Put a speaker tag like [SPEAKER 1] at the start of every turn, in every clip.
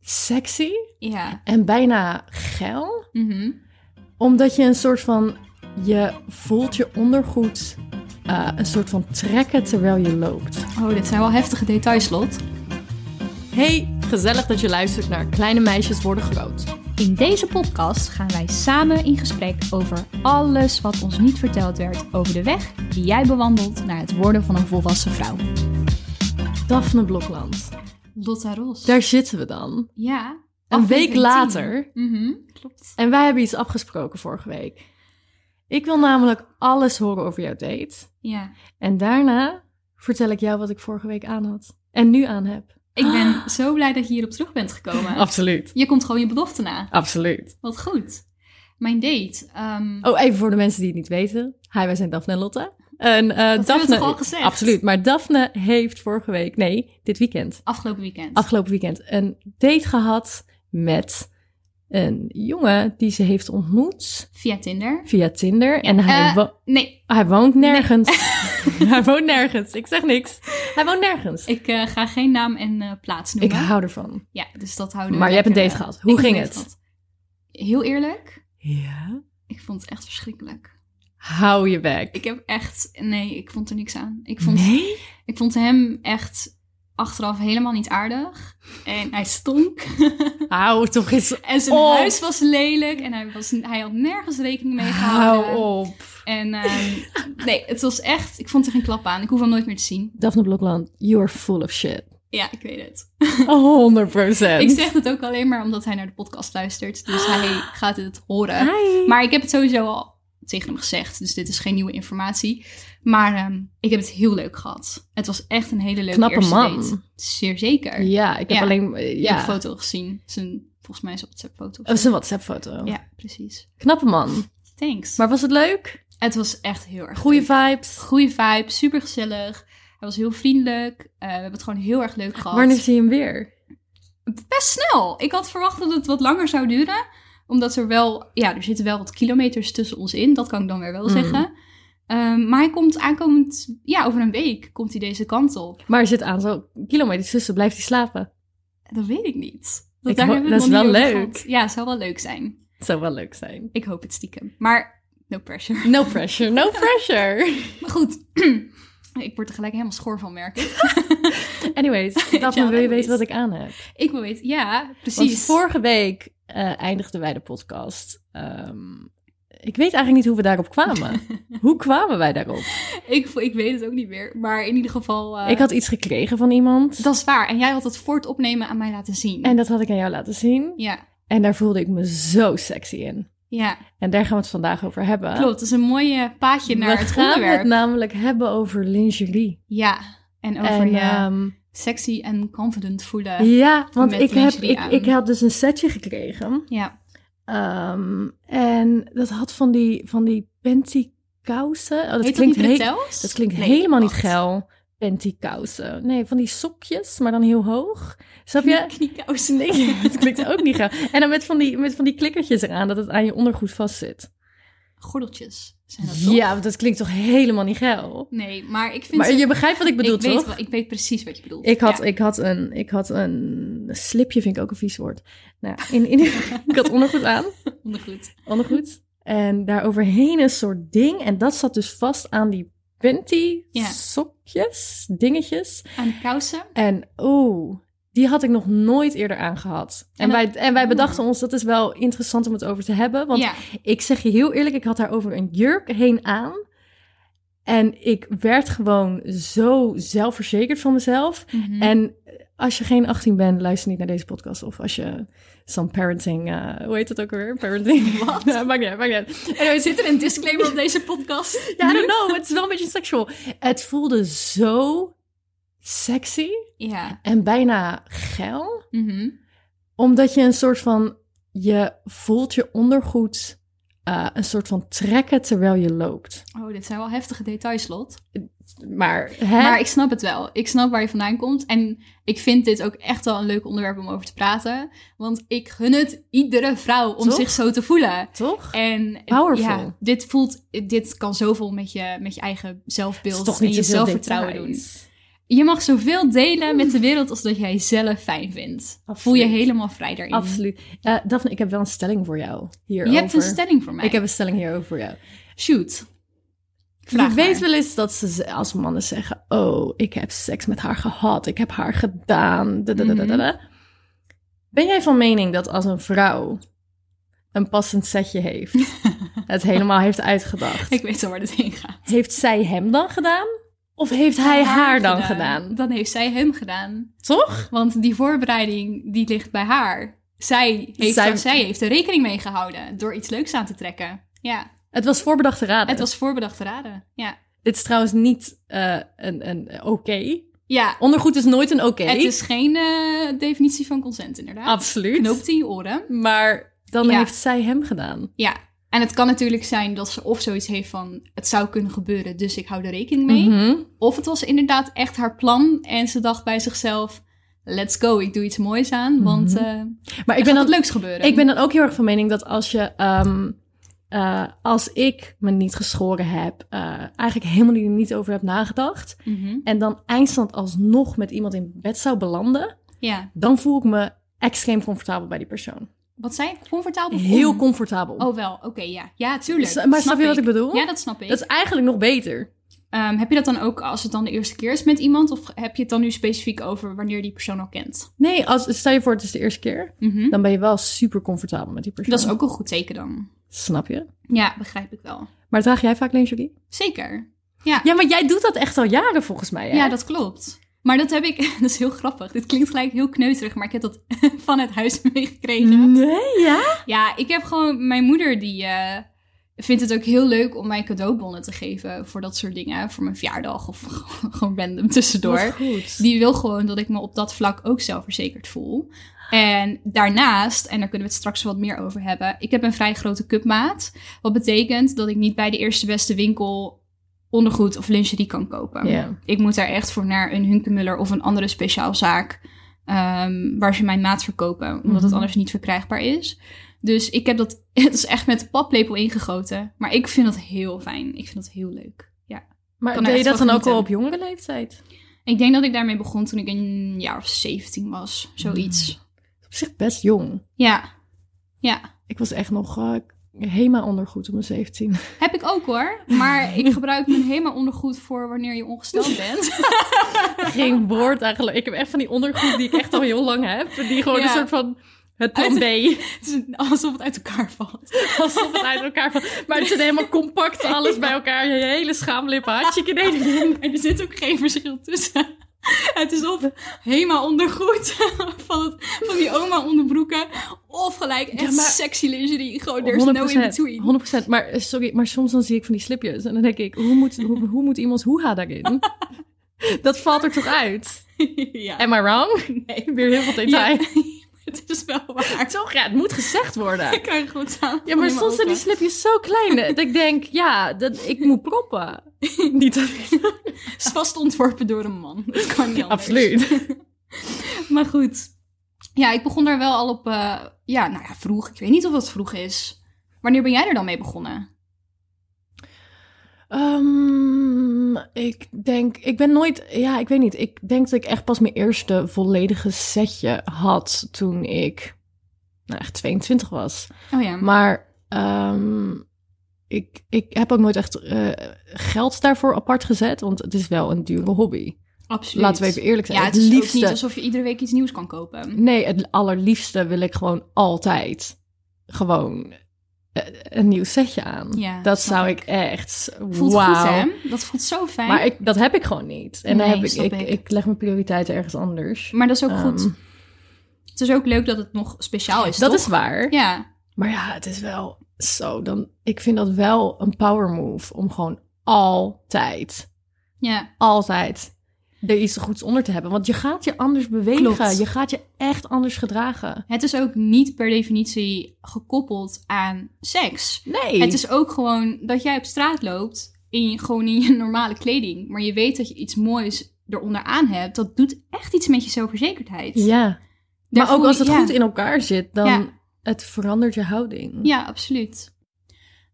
[SPEAKER 1] sexy
[SPEAKER 2] Ja.
[SPEAKER 1] en bijna geil.
[SPEAKER 2] Mhm.
[SPEAKER 1] Omdat je een soort van. Je voelt je ondergoed eh, een soort van trekken terwijl je loopt.
[SPEAKER 2] Oh, dit zijn wel heftige details, Lot.
[SPEAKER 1] Hey, gezellig dat je luistert naar Kleine Meisjes Worden Groot.
[SPEAKER 2] In deze podcast gaan wij samen in gesprek over alles wat ons niet verteld werd over de weg die jij bewandelt naar het worden van een volwassen vrouw.
[SPEAKER 1] Daphne Blokland.
[SPEAKER 2] Lotta Ros.
[SPEAKER 1] Daar zitten we dan.
[SPEAKER 2] Ja.
[SPEAKER 1] Een week
[SPEAKER 2] aflevering 10.
[SPEAKER 1] later.
[SPEAKER 2] Mhm, Klopt.
[SPEAKER 1] En wij hebben iets afgesproken vorige week. Ik wil namelijk alles horen over jouw date.
[SPEAKER 2] Ja.
[SPEAKER 1] En daarna vertel ik jou wat ik vorige week aan had. En nu aan heb.
[SPEAKER 2] Ik ben zo blij dat je hierop terug bent gekomen.
[SPEAKER 1] Absoluut.
[SPEAKER 2] Je komt gewoon je belofte na.
[SPEAKER 1] Absoluut.
[SPEAKER 2] Wat goed. Mijn date. ehm,
[SPEAKER 1] Oh, even voor de mensen die het niet weten. Hi, wij zijn Daphne en Lotte. En, eh,
[SPEAKER 2] we
[SPEAKER 1] Daphne,
[SPEAKER 2] toch al gezegd?
[SPEAKER 1] Absoluut. Maar Daphne heeft vorige week, nee, dit weekend,
[SPEAKER 2] Afgelopen weekend.
[SPEAKER 1] afgelopen weekend, een date gehad met een jongen die ze heeft ontmoet
[SPEAKER 2] Via Tinder.
[SPEAKER 1] via Tinder. En hij,
[SPEAKER 2] Eh,
[SPEAKER 1] wo-
[SPEAKER 2] Nee,
[SPEAKER 1] hij woont nergens. hij woont nergens. Ik zeg niks. Hij woont nergens. Ik,
[SPEAKER 2] ik eh, ga geen naam en eh, plaats noemen.
[SPEAKER 1] hou ervan.
[SPEAKER 2] Ja, dus dat houden we
[SPEAKER 1] Maar je hebt
[SPEAKER 2] lekker,
[SPEAKER 1] een date
[SPEAKER 2] eh,
[SPEAKER 1] gehad. Hoe
[SPEAKER 2] ik heb
[SPEAKER 1] ging
[SPEAKER 2] een date
[SPEAKER 1] het?
[SPEAKER 2] gehad. Heel eerlijk,
[SPEAKER 1] Ja.
[SPEAKER 2] ik vond het echt verschrikkelijk.
[SPEAKER 1] Hou je bek.
[SPEAKER 2] Ik heb echt... Nee, ik vond er niks aan. Ik vond,
[SPEAKER 1] Nee?
[SPEAKER 2] ik vond hem echt achteraf helemaal niet aardig. En hij stonk.
[SPEAKER 1] Hou toch eens
[SPEAKER 2] en zijn
[SPEAKER 1] op.
[SPEAKER 2] huis was lelijk. En hij, was, hij had nergens rekening mee gehouden.
[SPEAKER 1] Hou op.
[SPEAKER 2] En ehm, nee, het was echt... Ik vond er geen klap aan. Ik hoef hem nooit meer te zien.
[SPEAKER 1] Daphne Blokland, you're full of shit.
[SPEAKER 2] Ja, ik weet het.
[SPEAKER 1] 100 procent.
[SPEAKER 2] Ik zeg het ook alleen maar omdat hij naar de podcast luistert. Dus hij gaat het horen. eh, Maar ik heb het sowieso al tegen hem gezegd. Dus dit is geen nieuwe informatie. Maar ehm, ik heb het heel leuk gehad. Het was echt een hele leuke
[SPEAKER 1] Knappe
[SPEAKER 2] eerste
[SPEAKER 1] man.
[SPEAKER 2] date. Zeer zeker.
[SPEAKER 1] Ja, ik heb
[SPEAKER 2] Ja.
[SPEAKER 1] alleen... eh,
[SPEAKER 2] Ik heb een
[SPEAKER 1] Ja.
[SPEAKER 2] foto gezien. Zijn, volgens mij zijn WhatsApp-foto.
[SPEAKER 1] Dat Oh, is een WhatsApp-foto.
[SPEAKER 2] Ja, precies.
[SPEAKER 1] Knappe man.
[SPEAKER 2] Thanks. Maar
[SPEAKER 1] Maar was het leuk?
[SPEAKER 2] het was echt heel erg
[SPEAKER 1] Goeie
[SPEAKER 2] leuk.
[SPEAKER 1] vibes.
[SPEAKER 2] Goeie vibe. Super gezellig. Hij was heel vriendelijk. Eh, we hebben het gewoon heel erg leuk gehad.
[SPEAKER 1] Wanneer zie je hem weer?
[SPEAKER 2] best snel. Ik had verwacht dat het wat langer zou duren. Omdat er wel, ja, er zitten wel wat kilometers tussen ons in. Dat kan ik dan weer wel
[SPEAKER 1] Mm.
[SPEAKER 2] zeggen. Ehm, maar hij komt aankomend, ja, over een week komt hij deze kant op.
[SPEAKER 1] Maar er zit aan zo kilometers tussen. Blijft hij slapen?
[SPEAKER 2] Dat weet ik niet. Dat,
[SPEAKER 1] Ik
[SPEAKER 2] daar
[SPEAKER 1] ho-
[SPEAKER 2] hebben we
[SPEAKER 1] dat
[SPEAKER 2] het
[SPEAKER 1] is
[SPEAKER 2] nog
[SPEAKER 1] wel
[SPEAKER 2] niet over
[SPEAKER 1] leuk.
[SPEAKER 2] gehad. Ja, het zou wel leuk zijn.
[SPEAKER 1] Het zou wel leuk zijn.
[SPEAKER 2] Ik hoop het stiekem. Maar no pressure.
[SPEAKER 1] No pressure, no pressure.
[SPEAKER 2] Maar goed, ik word er gelijk helemaal schoor van, merk ik.
[SPEAKER 1] Anyways, Daphne, wil je
[SPEAKER 2] anyways.
[SPEAKER 1] weten wat ik aan heb?
[SPEAKER 2] ik wil weten, ja,
[SPEAKER 1] Want
[SPEAKER 2] precies.
[SPEAKER 1] vorige week eh, eindigden wij de podcast. Ehm, ik weet eigenlijk niet hoe we daarop kwamen. hoe kwamen wij daarop?
[SPEAKER 2] Ik, ik weet het ook niet meer. Maar in ieder geval, eh,
[SPEAKER 1] ik had iets gekregen van iemand.
[SPEAKER 2] dat is waar. En jij had het voor het opnemen aan mij laten zien.
[SPEAKER 1] En dat had ik aan jou laten zien.
[SPEAKER 2] Ja,
[SPEAKER 1] En daar voelde ik me zo sexy in.
[SPEAKER 2] ja.
[SPEAKER 1] En daar gaan we het vandaag over hebben.
[SPEAKER 2] Klopt, het is een mooi eh, paadje naar
[SPEAKER 1] Ah. we
[SPEAKER 2] het
[SPEAKER 1] gaan
[SPEAKER 2] onderwerp.
[SPEAKER 1] het namelijk hebben over lingerie.
[SPEAKER 2] Ja, en over
[SPEAKER 1] en
[SPEAKER 2] je
[SPEAKER 1] ehm,
[SPEAKER 2] sexy en confident voelen.
[SPEAKER 1] ja, want
[SPEAKER 2] met
[SPEAKER 1] ik, heb,
[SPEAKER 2] lingerie
[SPEAKER 1] ik,
[SPEAKER 2] aan.
[SPEAKER 1] ik had dus een setje gekregen.
[SPEAKER 2] Ja,
[SPEAKER 1] Ehm, en dat had van die, van die pentikousen. Oh, dat
[SPEAKER 2] heet
[SPEAKER 1] klinkt
[SPEAKER 2] dat
[SPEAKER 1] he-
[SPEAKER 2] niet bretels?
[SPEAKER 1] Dat klinkt
[SPEAKER 2] Nee,
[SPEAKER 1] helemaal niet
[SPEAKER 2] wacht.
[SPEAKER 1] geil. Pentikousen. Nee, van die sokjes, maar dan heel hoog. Snap je?
[SPEAKER 2] Knie- Kniekousen.
[SPEAKER 1] Nee, dat klinkt ook niet geil. En dan met van, die, met van die klikkertjes eraan, dat het aan je ondergoed vastzit.
[SPEAKER 2] Gordeltjes zijn dat toch?
[SPEAKER 1] Ja, want dat klinkt toch helemaal niet geil?
[SPEAKER 2] Nee, maar ik vind...
[SPEAKER 1] Maar
[SPEAKER 2] ze-
[SPEAKER 1] je begrijpt wat ik bedoel,
[SPEAKER 2] ik
[SPEAKER 1] toch?
[SPEAKER 2] Weet, wel- ik weet precies wat je bedoelt.
[SPEAKER 1] Ik had,
[SPEAKER 2] Ja.
[SPEAKER 1] ik, had een, ik had een slipje, vind ik ook een vies woord. Nou, in, in, ik had ondergoed aan.
[SPEAKER 2] Ondergoed.
[SPEAKER 1] Ondergoed. En daaroverheen een soort ding. En dat zat dus vast aan die panty
[SPEAKER 2] Ja.
[SPEAKER 1] sokjes, dingetjes.
[SPEAKER 2] Aan de kousen.
[SPEAKER 1] En oeh, die had ik nog nooit eerder aangehad. En,
[SPEAKER 2] En
[SPEAKER 1] wij, en wij
[SPEAKER 2] oh.
[SPEAKER 1] bedachten ons, dat is wel interessant om het over te hebben. Want
[SPEAKER 2] ja,
[SPEAKER 1] ik zeg je heel eerlijk, ik had daarover een jurk heen aan. En ik werd gewoon zo zelfverzekerd van mezelf.
[SPEAKER 2] mhm.
[SPEAKER 1] En als je geen 18 bent, luister niet naar deze podcast. Of als je some parenting, eh, hoe heet dat ook alweer? Parenting. Wat? Ja, maakt niet uit, maakt niet uit. Anyway,
[SPEAKER 2] Zit er een disclaimer op deze podcast?
[SPEAKER 1] ja, I
[SPEAKER 2] Nu?
[SPEAKER 1] don't know, het is wel een beetje seksual. Het voelde zo sexy
[SPEAKER 2] Ja.
[SPEAKER 1] en bijna geil.
[SPEAKER 2] mhm.
[SPEAKER 1] Omdat je een soort van... Je voelt je ondergoed eh, een soort van trekken terwijl je loopt.
[SPEAKER 2] Oh, dit zijn wel heftige details, Lot.
[SPEAKER 1] Maar, hè?
[SPEAKER 2] Maar ik snap het wel. Ik snap waar je vandaan komt. En ik vind dit ook echt wel een leuk onderwerp om over te praten. Want ik gun het iedere vrouw om
[SPEAKER 1] Toch?
[SPEAKER 2] zich zo te voelen.
[SPEAKER 1] toch?
[SPEAKER 2] En
[SPEAKER 1] Powerful.
[SPEAKER 2] ja, dit voelt, dit kan zoveel met je, met je eigen zelfbeeld en je
[SPEAKER 1] te veel
[SPEAKER 2] zelfvertrouwen doen.
[SPEAKER 1] details.
[SPEAKER 2] Je mag zoveel delen met de wereld als dat jij zelf fijn vindt. Voel je
[SPEAKER 1] Absoluut.
[SPEAKER 2] helemaal vrij daarin.
[SPEAKER 1] Absoluut. Eh, Daphne, ik heb wel een stelling voor jou hierover.
[SPEAKER 2] Mm. Je hebt een stelling voor mij.
[SPEAKER 1] Ik heb een stelling hierover voor jou.
[SPEAKER 2] Shoot. Vraag
[SPEAKER 1] ik weet
[SPEAKER 2] maar.
[SPEAKER 1] wel eens dat ze ze- als mannen zeggen: Oh, ik heb seks met haar gehad, ik heb haar gedaan. da, da, da, da,
[SPEAKER 2] Mhm.
[SPEAKER 1] da, da." Ben jij van mening dat als een vrouw een passend setje heeft, het helemaal heeft uitgedacht,
[SPEAKER 2] Ik weet al waar dit heen gaat.
[SPEAKER 1] heeft zij hem dan gedaan? Of heeft hij haar dan gedaan?
[SPEAKER 2] Dan heeft zij hem gedaan.
[SPEAKER 1] Toch?
[SPEAKER 2] Want die voorbereiding, die ligt bij haar. Zij heeft,
[SPEAKER 1] Zij-
[SPEAKER 2] daar- zij heeft er rekening mee gehouden door iets leuks aan te trekken. Ja,
[SPEAKER 1] Het was voorbedachte raden.
[SPEAKER 2] het was voorbedacht te raden. Ja,
[SPEAKER 1] Dit is trouwens niet eh, een, een oké.
[SPEAKER 2] ja
[SPEAKER 1] Ondergoed is nooit een oké.
[SPEAKER 2] het is geen eh, definitie van consent inderdaad.
[SPEAKER 1] Absoluut.
[SPEAKER 2] Knoopt in je oren.
[SPEAKER 1] Maar dan
[SPEAKER 2] Ja.
[SPEAKER 1] heeft zij hem gedaan.
[SPEAKER 2] Ja, en het kan natuurlijk zijn dat ze of zoiets heeft van... het zou kunnen gebeuren, dus ik hou er rekening mee.
[SPEAKER 1] Mhm.
[SPEAKER 2] Of het was inderdaad echt haar plan en ze dacht bij zichzelf... let's go, ik doe iets moois aan, want eh,
[SPEAKER 1] Maar Mhm. ik
[SPEAKER 2] er
[SPEAKER 1] ben,
[SPEAKER 2] gaat
[SPEAKER 1] dan,
[SPEAKER 2] wat leuks gebeuren.
[SPEAKER 1] ik ben dan ook heel erg van mening dat als je... ehm, eh, als ik me niet geschoren heb, eh, eigenlijk helemaal hier niet over heb nagedacht...
[SPEAKER 2] Mhm.
[SPEAKER 1] en dan eindstand alsnog met iemand in bed zou belanden...
[SPEAKER 2] Ja,
[SPEAKER 1] dan voel ik me extreem comfortabel bij die persoon.
[SPEAKER 2] wat zei ik? Comfortabel? of
[SPEAKER 1] Heel
[SPEAKER 2] on?
[SPEAKER 1] comfortabel.
[SPEAKER 2] Oh wel, oké, ja. Ja, tuurlijk.
[SPEAKER 1] S- maar snap je wat ik bedoel?
[SPEAKER 2] Ja, dat snap ik.
[SPEAKER 1] Dat is eigenlijk nog beter.
[SPEAKER 2] Ehm, heb je dat dan ook als het dan de eerste keer is met iemand? Of heb je het dan nu specifiek over wanneer die persoon al kent?
[SPEAKER 1] Nee, als, stel je voor het is de eerste keer...
[SPEAKER 2] Mhm.
[SPEAKER 1] dan ben je wel super comfortabel met die persoon.
[SPEAKER 2] Dat is ook een goed teken dan.
[SPEAKER 1] Snap je?
[SPEAKER 2] Ja, begrijp ik wel.
[SPEAKER 1] Maar draag jij vaak lingerie?
[SPEAKER 2] Zeker.
[SPEAKER 1] Ja, maar jij doet dat echt al jaren volgens mij, hè?
[SPEAKER 2] Ja, dat klopt. Maar dat heb ik, dat is heel grappig. Dit klinkt gelijk heel kneuterig, maar ik heb dat van het huis
[SPEAKER 1] Mhm.
[SPEAKER 2] meegekregen.
[SPEAKER 1] Nee, ja?
[SPEAKER 2] Ja, ik heb gewoon mijn moeder die eh, vindt het ook heel leuk om mij cadeaubonnen te geven voor dat soort dingen. Voor mijn verjaardag of gewoon random
[SPEAKER 1] Wat
[SPEAKER 2] tussendoor.
[SPEAKER 1] goed.
[SPEAKER 2] Die wil gewoon dat ik me op dat vlak ook zelfverzekerd voel. En daarnaast, en daar kunnen we het straks wat meer over hebben, ik heb een vrij grote cupmaat. Wat betekent dat ik niet bij de eerste beste winkel ondergoed of lingerie kan kopen.
[SPEAKER 1] Ja.
[SPEAKER 2] Ik moet daar echt voor naar een Hunkemuller of een andere speciaalzaak. ehm, waar ze mijn maat verkopen. Omdat het
[SPEAKER 1] Mhm.
[SPEAKER 2] anders niet verkrijgbaar is. Dus ik heb dat. Het is echt met de paplepel ingegoten. Maar ik vind dat heel fijn. Ik vind dat heel leuk. Ja.
[SPEAKER 1] Maar
[SPEAKER 2] Kan er
[SPEAKER 1] deed je
[SPEAKER 2] echt
[SPEAKER 1] dat
[SPEAKER 2] van
[SPEAKER 1] dan ook al op
[SPEAKER 2] genieten.
[SPEAKER 1] jongere leeftijd?
[SPEAKER 2] Ik denk dat ik daarmee begon toen ik een jaar of 17 was. Zoiets.
[SPEAKER 1] Op zich best jong.
[SPEAKER 2] Ja. Ja.
[SPEAKER 1] Ik was echt nog eh helemaal ondergoed om mijn 17.
[SPEAKER 2] Heb ik ook hoor. Maar ik gebruik mijn helemaal ondergoed voor wanneer je ongesteld bent.
[SPEAKER 1] Geen woord eigenlijk. Ik heb echt van die ondergoed die ik echt al heel lang heb. Die gewoon
[SPEAKER 2] Ja.
[SPEAKER 1] een soort van het plan B.
[SPEAKER 2] Het is alsof het uit elkaar valt.
[SPEAKER 1] Alsof het uit elkaar valt. Maar het zit helemaal compact alles bij elkaar. Je hele schaamlippen. Hartstikke nee.
[SPEAKER 2] En er zit ook geen verschil tussen. Het is of helemaal ondergoed van, het, van die oma onderbroeken. Of gelijk echt
[SPEAKER 1] Ja, maar-
[SPEAKER 2] sexy lingerie. Gewoon, there's no in between.
[SPEAKER 1] 100%. 100%. Maar eh, sorry, maar soms dan zie ik van die slipjes. En dan denk ik, hoe moet, hoe, hoe moet iemands hoeha daarin? Dat valt er toch uit?
[SPEAKER 2] ja.
[SPEAKER 1] Am I wrong?
[SPEAKER 2] nee.
[SPEAKER 1] Weer heel veel
[SPEAKER 2] Ja,
[SPEAKER 1] detail.
[SPEAKER 2] het is wel waar.
[SPEAKER 1] Toch? Ja, het moet gezegd worden.
[SPEAKER 2] Ik krijg goed aan.
[SPEAKER 1] Ja, maar soms zijn die slipjes zo klein dat ik denk, ja, dat, ik moet proppen. Niet dat
[SPEAKER 2] is vast ontworpen door een man. Dat kan niet anders.
[SPEAKER 1] Absoluut.
[SPEAKER 2] Maar goed. Ja, ik begon daar wel al op... eh, ja, nou ja, vroeg. Ik weet niet of dat vroeg is. Wanneer ben jij er dan mee begonnen?
[SPEAKER 1] Ehm, ik denk, ik ben nooit, ja, ik weet niet. Ik denk dat ik echt pas mijn eerste volledige setje had toen ik, nou echt 22 was.
[SPEAKER 2] Oh ja.
[SPEAKER 1] Maar ehm, ik, ik heb ook nooit echt eh, geld daarvoor apart gezet, want het is wel een dure hobby.
[SPEAKER 2] Absoluut.
[SPEAKER 1] Laten we even eerlijk zijn.
[SPEAKER 2] Ja,
[SPEAKER 1] het,
[SPEAKER 2] het is ook
[SPEAKER 1] liefste,
[SPEAKER 2] niet alsof je iedere week iets nieuws kan kopen.
[SPEAKER 1] Nee, het allerliefste wil ik gewoon altijd gewoon eh, een nieuw setje aan.
[SPEAKER 2] Ja,
[SPEAKER 1] dat
[SPEAKER 2] snap
[SPEAKER 1] zou
[SPEAKER 2] ik.
[SPEAKER 1] ik echt.
[SPEAKER 2] Voelt goed,
[SPEAKER 1] wauw.
[SPEAKER 2] hè? Dat voelt zo fijn.
[SPEAKER 1] Maar ik, dat heb ik gewoon niet. En
[SPEAKER 2] Nee,
[SPEAKER 1] dan heb ik,
[SPEAKER 2] snap
[SPEAKER 1] ik,
[SPEAKER 2] ik.
[SPEAKER 1] ik leg mijn prioriteiten ergens anders.
[SPEAKER 2] Maar dat is ook
[SPEAKER 1] Ehm,
[SPEAKER 2] goed. Het is ook leuk dat het nog speciaal is,
[SPEAKER 1] Dat
[SPEAKER 2] toch?
[SPEAKER 1] is waar.
[SPEAKER 2] Ja,
[SPEAKER 1] Maar ja, het is wel zo. Dan, ik vind dat wel een power move om gewoon altijd,
[SPEAKER 2] ja.
[SPEAKER 1] altijd er iets goeds onder te hebben. Want je gaat je anders bewegen.
[SPEAKER 2] Klopt.
[SPEAKER 1] Je gaat je echt anders gedragen.
[SPEAKER 2] Het is ook niet per definitie gekoppeld aan seks.
[SPEAKER 1] Nee.
[SPEAKER 2] Het is ook gewoon dat jij op straat loopt in gewoon in je normale kleding, maar je weet dat je iets moois eronder aan hebt. Dat doet echt iets met je zelfverzekerdheid.
[SPEAKER 1] ja.
[SPEAKER 2] Daar
[SPEAKER 1] maar ook
[SPEAKER 2] voel
[SPEAKER 1] als
[SPEAKER 2] je-
[SPEAKER 1] het
[SPEAKER 2] ja.
[SPEAKER 1] goed in elkaar zit, dan
[SPEAKER 2] Ja.
[SPEAKER 1] het verandert je houding.
[SPEAKER 2] Ja, absoluut.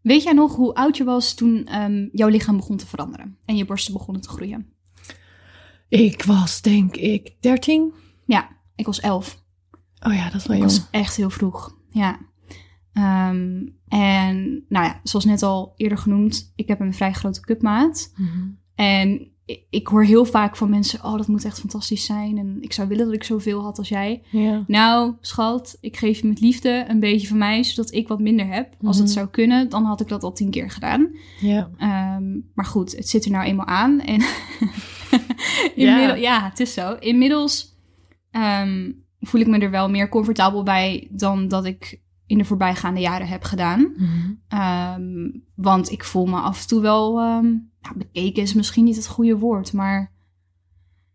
[SPEAKER 2] Weet jij nog hoe oud je was toen ehm, jouw lichaam begon te veranderen en je borsten begonnen te groeien?
[SPEAKER 1] Ik was denk ik 13.
[SPEAKER 2] Ja, ik was elf.
[SPEAKER 1] Oh ja, dat is wel
[SPEAKER 2] Ik
[SPEAKER 1] jong.
[SPEAKER 2] was echt heel vroeg, ja. Ehm, en nou ja, zoals net al eerder genoemd, ik heb een vrij grote cupmaat.
[SPEAKER 1] Mhm.
[SPEAKER 2] En i- ik hoor heel vaak van mensen, oh dat moet echt fantastisch zijn. En ik zou willen dat ik zoveel had als jij.
[SPEAKER 1] Ja.
[SPEAKER 2] Nou, schat, ik geef je met liefde een beetje van mij, zodat ik wat minder heb. Als dat
[SPEAKER 1] Mhm.
[SPEAKER 2] zou kunnen, dan had ik dat al tien keer gedaan.
[SPEAKER 1] ja.
[SPEAKER 2] Ehm, maar goed, het zit er nou eenmaal aan. En
[SPEAKER 1] Ja.
[SPEAKER 2] Inmiddel, ja. het is zo. Inmiddels ehm, voel ik me er wel meer comfortabel bij dan dat ik in de voorbijgaande jaren heb gedaan. Ehm, want ik voel me af en toe wel. ehm nou, bekeken is misschien niet het goede woord, maar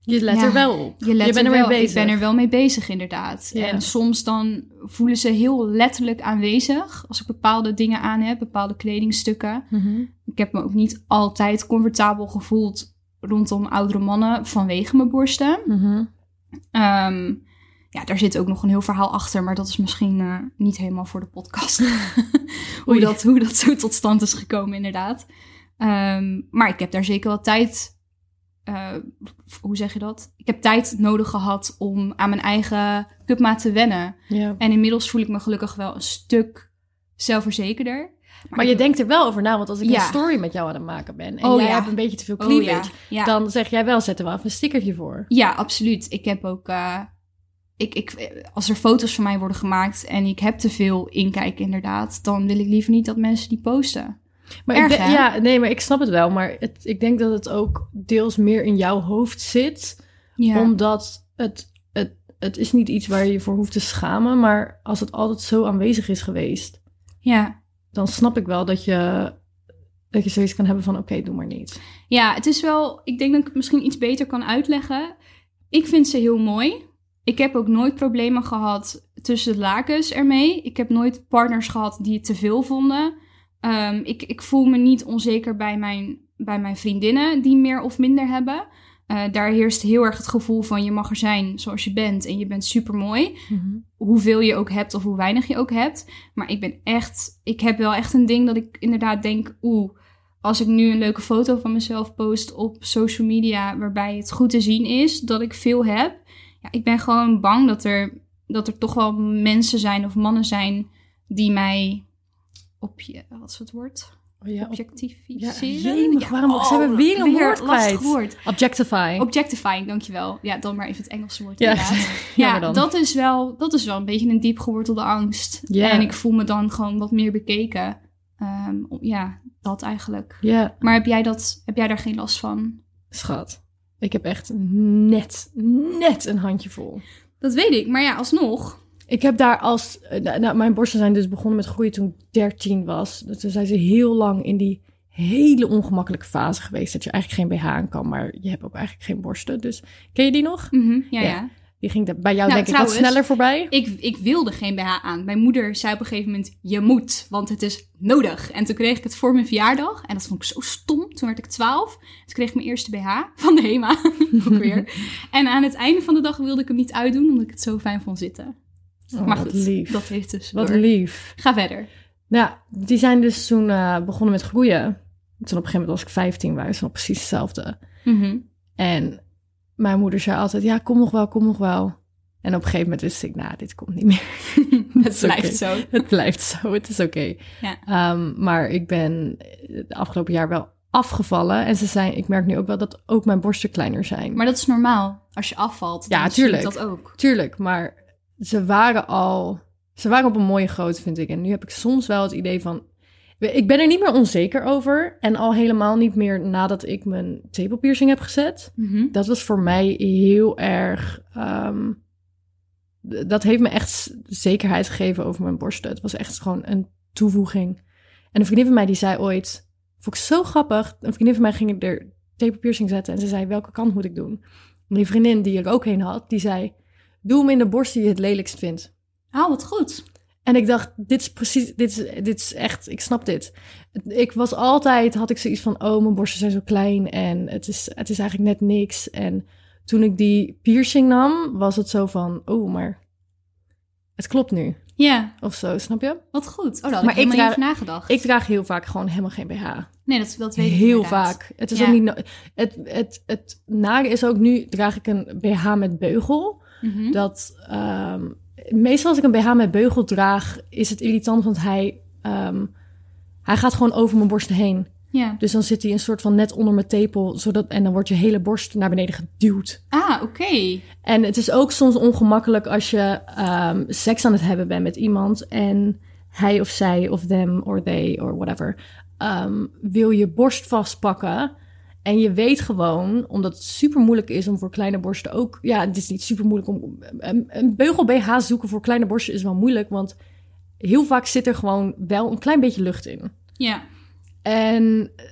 [SPEAKER 1] Je let
[SPEAKER 2] Ja.
[SPEAKER 1] er wel op.
[SPEAKER 2] je, let
[SPEAKER 1] bent
[SPEAKER 2] er
[SPEAKER 1] ermee
[SPEAKER 2] wel,
[SPEAKER 1] bezig.
[SPEAKER 2] Ik ben er wel mee bezig, inderdaad.
[SPEAKER 1] Ja.
[SPEAKER 2] En soms dan voelen ze heel letterlijk aanwezig als ik bepaalde dingen aan heb, bepaalde kledingstukken.
[SPEAKER 1] Mhm.
[SPEAKER 2] Ik heb me ook niet altijd comfortabel gevoeld rondom oudere mannen vanwege mijn borsten.
[SPEAKER 1] Mhm.
[SPEAKER 2] Ehm, ja, daar zit ook nog een heel verhaal achter, maar dat is misschien eh, niet helemaal voor de podcast. hoe,
[SPEAKER 1] Oei.
[SPEAKER 2] dat, hoe dat zo tot stand is gekomen, inderdaad. Ehm, maar ik heb daar zeker wel tijd. eh, hoe zeg je dat? Ik heb tijd nodig gehad om aan mijn eigen cupmaat te wennen.
[SPEAKER 1] Ja.
[SPEAKER 2] En inmiddels voel ik me gelukkig wel een stuk zelfverzekerder.
[SPEAKER 1] Maar je denkt er wel over na, want als ik
[SPEAKER 2] Ja.
[SPEAKER 1] een story met jou aan het maken ben en
[SPEAKER 2] Oh
[SPEAKER 1] jij
[SPEAKER 2] ja.
[SPEAKER 1] hebt een beetje te veel
[SPEAKER 2] Oh,
[SPEAKER 1] cleavage,
[SPEAKER 2] ja.
[SPEAKER 1] dan zeg jij wel, zetten we af een stickertje voor.
[SPEAKER 2] Ja, absoluut. Ik heb ook. eh, ik, ik, als er foto's van mij worden gemaakt en ik heb te veel inkijk, inderdaad, dan wil ik liever niet dat mensen die posten.
[SPEAKER 1] Maar
[SPEAKER 2] Erg,
[SPEAKER 1] ik ben-
[SPEAKER 2] hè?
[SPEAKER 1] ja, nee, maar ik snap het wel. Maar het, ik denk dat het ook deels meer in jouw hoofd zit,
[SPEAKER 2] Ja,
[SPEAKER 1] omdat het, het, het is niet iets waar je je voor hoeft te schamen. Maar als het altijd zo aanwezig is geweest,
[SPEAKER 2] ja.
[SPEAKER 1] dan snap ik wel dat je, dat je zoiets kan hebben van, oké, doe maar niet.
[SPEAKER 2] ja het is wel. Ik denk dat ik het misschien iets beter kan uitleggen. Ik vind ze heel mooi. Ik heb ook nooit problemen gehad tussen de lakens ermee. Ik heb nooit partners gehad die het te veel vonden. Ehm, ik, ik voel me niet onzeker bij mijn, bij mijn vriendinnen die meer of minder hebben. Eh, daar heerst heel erg het gevoel van je mag er zijn zoals je bent en je bent super mooi. Hoeveel je ook hebt of hoe weinig je ook hebt. Maar ik ben echt, ik heb wel echt een ding dat ik inderdaad denk, oeh, als ik nu een leuke foto van mezelf post op social media waarbij het goed te zien is dat ik veel heb. Ja, ik ben gewoon bang dat er, dat er toch wel mensen zijn of mannen zijn die mij op je, wat is het woord?
[SPEAKER 1] Oh ja, op- ja,
[SPEAKER 2] Objectificeren?
[SPEAKER 1] jemig, waarom? ze hebben weer een woord
[SPEAKER 2] lastig
[SPEAKER 1] kwijt.
[SPEAKER 2] woord.
[SPEAKER 1] Objectify.
[SPEAKER 2] Objectifying, dankjewel. Ja, dan maar even het Engelse woord.
[SPEAKER 1] Ja,
[SPEAKER 2] inderdaad.
[SPEAKER 1] jammer
[SPEAKER 2] ja
[SPEAKER 1] dan.
[SPEAKER 2] dat, is wel, dat is wel een beetje een diep gewortelde angst.
[SPEAKER 1] Ja.
[SPEAKER 2] En ik voel me dan gewoon wat meer bekeken. Ehm, om- ja, dat eigenlijk.
[SPEAKER 1] ja,
[SPEAKER 2] Maar heb jij, dat, heb jij daar geen last van?
[SPEAKER 1] schat. Ik heb echt net, net een handje vol.
[SPEAKER 2] Dat weet ik, maar ja, alsnog.
[SPEAKER 1] Ik heb daar als... eh, nou, nou, mijn borsten zijn dus begonnen met groeien toen ik 13 was. Dus Toen zijn ze heel lang in die hele ongemakkelijke fase geweest. Dat je eigenlijk geen BH aan kan, maar je hebt ook eigenlijk geen borsten. Dus ken je die nog?
[SPEAKER 2] Mhm, ja,
[SPEAKER 1] Ja.
[SPEAKER 2] ja.
[SPEAKER 1] Die ging daar bij jou
[SPEAKER 2] Nou,
[SPEAKER 1] denk ik
[SPEAKER 2] trouwens-
[SPEAKER 1] wat sneller voorbij.
[SPEAKER 2] Ik, ik wilde geen BH aan. Mijn moeder zei op een gegeven moment, je moet, want het is nodig. En toen kreeg ik het voor mijn verjaardag. En dat vond ik zo stom. Toen werd ik 12. Toen kreeg ik mijn eerste BH van de HEMA. ook weer. En aan het einde van de dag wilde ik hem niet uitdoen, omdat ik het zo fijn vond zitten.
[SPEAKER 1] Oh,
[SPEAKER 2] maar
[SPEAKER 1] wat
[SPEAKER 2] goed,
[SPEAKER 1] lief.
[SPEAKER 2] dat heeft dus
[SPEAKER 1] Wat
[SPEAKER 2] door.
[SPEAKER 1] lief.
[SPEAKER 2] Ga verder.
[SPEAKER 1] Nou, die zijn dus toen eh, begonnen met groeien. Toen op een gegeven moment was ik 15, waren ze nog precies hetzelfde.
[SPEAKER 2] Mhm.
[SPEAKER 1] En mijn moeder zei altijd, ja, kom nog wel, kom nog wel. En op een gegeven moment wist ik, nou, dit komt niet meer. Dat
[SPEAKER 2] het
[SPEAKER 1] is
[SPEAKER 2] blijft
[SPEAKER 1] oké.
[SPEAKER 2] zo.
[SPEAKER 1] Het blijft zo, het is oké.
[SPEAKER 2] Ja.
[SPEAKER 1] Ehm, maar ik ben het afgelopen jaar wel afgevallen. En ze zijn, ik merk nu ook wel dat ook mijn borsten kleiner zijn.
[SPEAKER 2] Maar dat is normaal. Als je afvalt, dan
[SPEAKER 1] Ja,
[SPEAKER 2] ja, tuurlijk.
[SPEAKER 1] tuurlijk.
[SPEAKER 2] dat ook.
[SPEAKER 1] Tuurlijk, maar ze waren al... Ze waren op een mooie grootte, vind ik. En nu heb ik soms wel het idee van... Ik ben er niet meer onzeker over. En al helemaal niet meer nadat ik mijn tepelpiercing heb gezet.
[SPEAKER 2] Mhm.
[SPEAKER 1] dat was voor mij heel erg. ehm, d- dat heeft me echt s- zekerheid gegeven over mijn borsten. Het was echt gewoon een toevoeging. En een vriendin van mij die zei ooit. Vond ik zo grappig. Een vriendin van mij ging er taperpiercing zetten. En ze zei, welke kant moet ik doen? En die vriendin die er ook heen had, die zei... Doe hem in de borst die je het lelijkst vindt.
[SPEAKER 2] Oh, wat goed.
[SPEAKER 1] En ik dacht, dit is precies, dit is, dit is echt, ik snap dit. Ik was altijd, had ik zoiets van, oh, mijn borsten zijn zo klein en het is, het is eigenlijk net niks. En toen ik die piercing nam, was het zo van, oh, maar het klopt nu.
[SPEAKER 2] Ja,
[SPEAKER 1] Of zo, snap je?
[SPEAKER 2] wat goed. Oh, daar had
[SPEAKER 1] Maar
[SPEAKER 2] ik helemaal
[SPEAKER 1] ik
[SPEAKER 2] niet over nagedacht.
[SPEAKER 1] Ik draag heel vaak gewoon helemaal geen BH.
[SPEAKER 2] nee, dat, dat weet ik
[SPEAKER 1] Heel
[SPEAKER 2] inderdaad.
[SPEAKER 1] vaak. Het is
[SPEAKER 2] Ja.
[SPEAKER 1] ook niet, no- het, het, het nare is ook nu, draag ik een BH met beugel.
[SPEAKER 2] Mhm.
[SPEAKER 1] dat ehm, meestal als ik een BH met beugel draag, is het irritant, want hij, ehm, hij gaat gewoon over mijn borst heen.
[SPEAKER 2] Ja.
[SPEAKER 1] Dus dan zit hij een soort van net onder mijn tepel, zodat, en dan wordt je hele borst naar beneden geduwd.
[SPEAKER 2] Ah, oké.
[SPEAKER 1] En het is ook soms ongemakkelijk als je ehm, seks aan het hebben bent met iemand en hij of zij of them or they or whatever ehm, wil je borst vastpakken. En je weet gewoon, omdat het super moeilijk is om voor kleine borsten ook. Ja, het is niet super moeilijk om. Een, een beugel BH zoeken voor kleine borsten is wel moeilijk, want heel vaak zit er gewoon wel een klein beetje lucht in.
[SPEAKER 2] Ja.
[SPEAKER 1] En eh,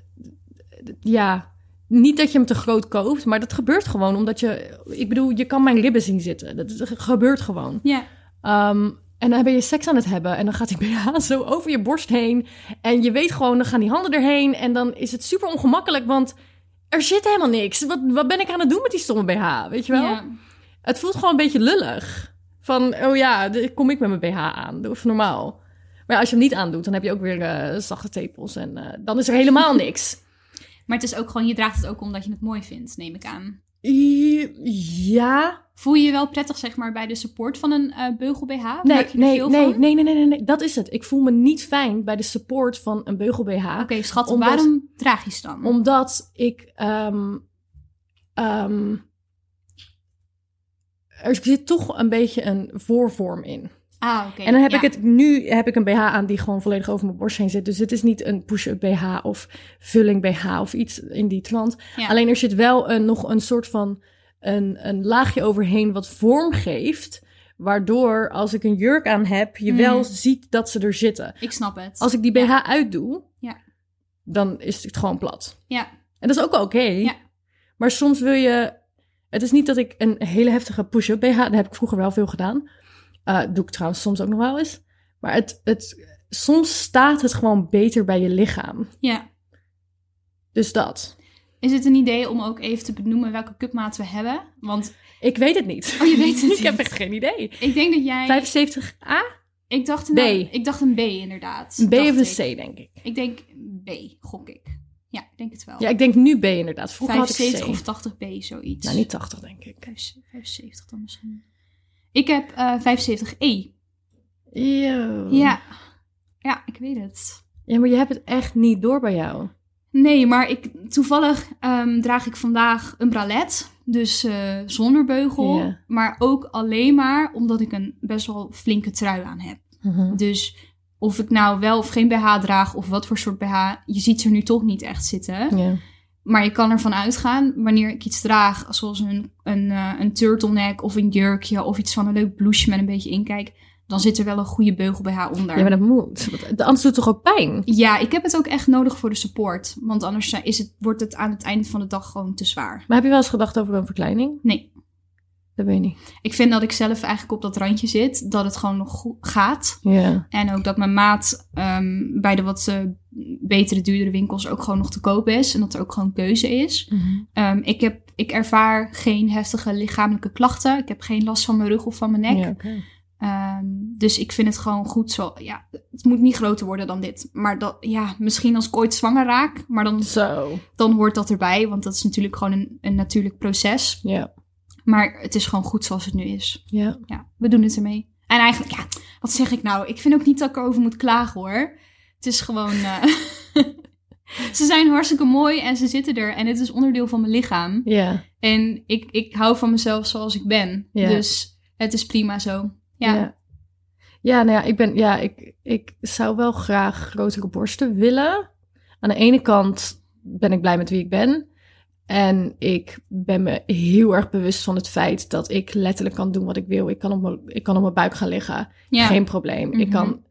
[SPEAKER 1] d- ja, niet dat je hem te groot koopt, maar dat gebeurt gewoon. Omdat je, ik bedoel, je kan mijn ribben zien zitten. Dat is- dat gebeurt gewoon.
[SPEAKER 2] Ja.
[SPEAKER 1] Ehm, en dan ben je seks aan het hebben en dan gaat die BH zo over je borst heen. En je weet gewoon, dan gaan die handen erheen. En dan is het super ongemakkelijk, want er zit helemaal niks. Wat, wat ben ik aan het doen met die stomme BH, weet je wel?
[SPEAKER 2] Ja.
[SPEAKER 1] Het voelt gewoon een beetje lullig. Van, oh ja, de- kom ik met mijn BH aan. Doe even normaal. Maar ja, als je hem niet aandoet, dan heb je ook weer eh, zachte tepels. En eh, dan is er helemaal niks.
[SPEAKER 2] Maar het is ook gewoon, je draagt het ook omdat je het mooi vindt, neem ik aan.
[SPEAKER 1] I- Ja.
[SPEAKER 2] Voel je je wel prettig, zeg maar, bij de support van een eh, beugel BH?
[SPEAKER 1] Nee,
[SPEAKER 2] Merk je er
[SPEAKER 1] nee,
[SPEAKER 2] veel
[SPEAKER 1] nee,
[SPEAKER 2] van?
[SPEAKER 1] nee, nee, nee, nee, nee. Dat is het. Ik voel me niet fijn bij de support van een beugel BH.
[SPEAKER 2] Oké, schat,
[SPEAKER 1] Omdat-
[SPEAKER 2] waarom draag je ze dan?
[SPEAKER 1] Omdat ik. ehm, ehm, er zit toch een beetje een voorvorm in.
[SPEAKER 2] Ah, oké.
[SPEAKER 1] En dan heb
[SPEAKER 2] ja.
[SPEAKER 1] ik het nu heb ik een BH aan die gewoon volledig over mijn borst heen zit. Dus het is niet een push-up BH of vulling BH of iets in die trant.
[SPEAKER 2] Ja.
[SPEAKER 1] Alleen er zit wel een, nog een soort van een, een laagje overheen wat vorm geeft. Waardoor als ik een jurk aan heb, je
[SPEAKER 2] Mm.
[SPEAKER 1] wel ziet dat ze er zitten.
[SPEAKER 2] Ik snap het.
[SPEAKER 1] Als ik die BH
[SPEAKER 2] Ja.
[SPEAKER 1] uitdoe,
[SPEAKER 2] Ja.
[SPEAKER 1] dan is het gewoon plat.
[SPEAKER 2] Ja.
[SPEAKER 1] En dat is ook oké.
[SPEAKER 2] Ja.
[SPEAKER 1] Maar soms wil je. Het is niet dat ik een hele heftige push-up BH. Dat heb ik vroeger wel veel gedaan. Eh, doe ik trouwens soms ook nog wel eens. Maar het, het, soms staat het gewoon beter bij je lichaam.
[SPEAKER 2] ja.
[SPEAKER 1] Dus dat.
[SPEAKER 2] Is het een idee om ook even te benoemen welke cupmaat we hebben? Want
[SPEAKER 1] Ik weet het niet.
[SPEAKER 2] Oh, je weet het
[SPEAKER 1] ik heb
[SPEAKER 2] niet.
[SPEAKER 1] echt geen idee.
[SPEAKER 2] ik denk dat jij...
[SPEAKER 1] 75a?
[SPEAKER 2] Ik dacht,
[SPEAKER 1] B.
[SPEAKER 2] een, ik dacht een B, inderdaad.
[SPEAKER 1] Een B
[SPEAKER 2] Dacht
[SPEAKER 1] of
[SPEAKER 2] ik.
[SPEAKER 1] een C, denk ik.
[SPEAKER 2] Ik denk B, gok ik. Ja, ik denk het wel.
[SPEAKER 1] Ja, ik denk nu B inderdaad. Vroeger had ik
[SPEAKER 2] 75
[SPEAKER 1] C.
[SPEAKER 2] of 80 B, zoiets.
[SPEAKER 1] Nou, niet 80, denk ik.
[SPEAKER 2] 75 dan misschien. Ik heb eh 75 E.
[SPEAKER 1] Yo.
[SPEAKER 2] Ja. Ja, ik weet het.
[SPEAKER 1] ja, maar je hebt het echt niet door bij jou.
[SPEAKER 2] Nee, maar ik, toevallig ehm, draag ik vandaag een bralet. Dus eh, zonder beugel.
[SPEAKER 1] Ja.
[SPEAKER 2] Maar ook alleen maar omdat ik een best wel flinke trui aan heb.
[SPEAKER 1] Mhm.
[SPEAKER 2] Dus of ik nou wel of geen BH draag of wat voor soort BH, je ziet ze er nu toch niet echt zitten.
[SPEAKER 1] Ja.
[SPEAKER 2] Maar je kan ervan uitgaan wanneer ik iets draag, zoals een, een, eh, een turtleneck of een jurkje of iets van een leuk blouseje met een beetje inkijk, dan zit er wel een goede beugel bij haar onder.
[SPEAKER 1] ja, maar dat moet. Want Anders doet het toch ook pijn?
[SPEAKER 2] Ja, ik heb het ook echt nodig voor de support, want anders eh, is het, wordt het aan het eind van de dag gewoon te zwaar.
[SPEAKER 1] Maar heb je wel eens gedacht over een verkleining?
[SPEAKER 2] Nee,
[SPEAKER 1] Dat weet ik niet.
[SPEAKER 2] ik vind dat ik zelf eigenlijk op dat randje zit, dat het gewoon nog go- gaat.
[SPEAKER 1] Ja.
[SPEAKER 2] En ook dat mijn maat ehm, bij de wat eh, betere, duurdere winkels ook gewoon nog te koop is en dat er ook gewoon keuze is. Ehm, ik, heb, ik ervaar geen heftige lichamelijke klachten. Ik heb geen last van mijn rug of van mijn nek.
[SPEAKER 1] Ja, oké.
[SPEAKER 2] Ehm, dus ik vind het gewoon goed zo. Ja, het moet niet groter worden dan dit. Maar dat, ja, misschien als ik ooit zwanger raak. Maar dan,
[SPEAKER 1] Zo.
[SPEAKER 2] dan hoort dat erbij. Want dat is natuurlijk gewoon een, een natuurlijk proces.
[SPEAKER 1] Ja.
[SPEAKER 2] Maar het is gewoon goed zoals het nu is.
[SPEAKER 1] Ja.
[SPEAKER 2] Ja, we doen het ermee. En eigenlijk, ja, wat zeg ik nou? Ik vind ook niet dat ik erover moet klagen hoor. Het is gewoon. eh, ze zijn hartstikke mooi en ze zitten er. En het is onderdeel van mijn lichaam.
[SPEAKER 1] Ja.
[SPEAKER 2] En ik, ik hou van mezelf zoals ik ben.
[SPEAKER 1] Ja.
[SPEAKER 2] Dus het is prima zo. Ja.
[SPEAKER 1] Ja. Ja, nou ja, ik ben, ja, ik, ik zou wel graag grotere borsten willen. Aan de ene kant ben ik blij met wie ik ben. En ik ben me heel erg bewust van het feit dat ik letterlijk kan doen wat ik wil. Ik kan op mijn, ik kan op mijn buik gaan liggen.
[SPEAKER 2] Ja. Mhm.
[SPEAKER 1] Geen probleem. Ik kan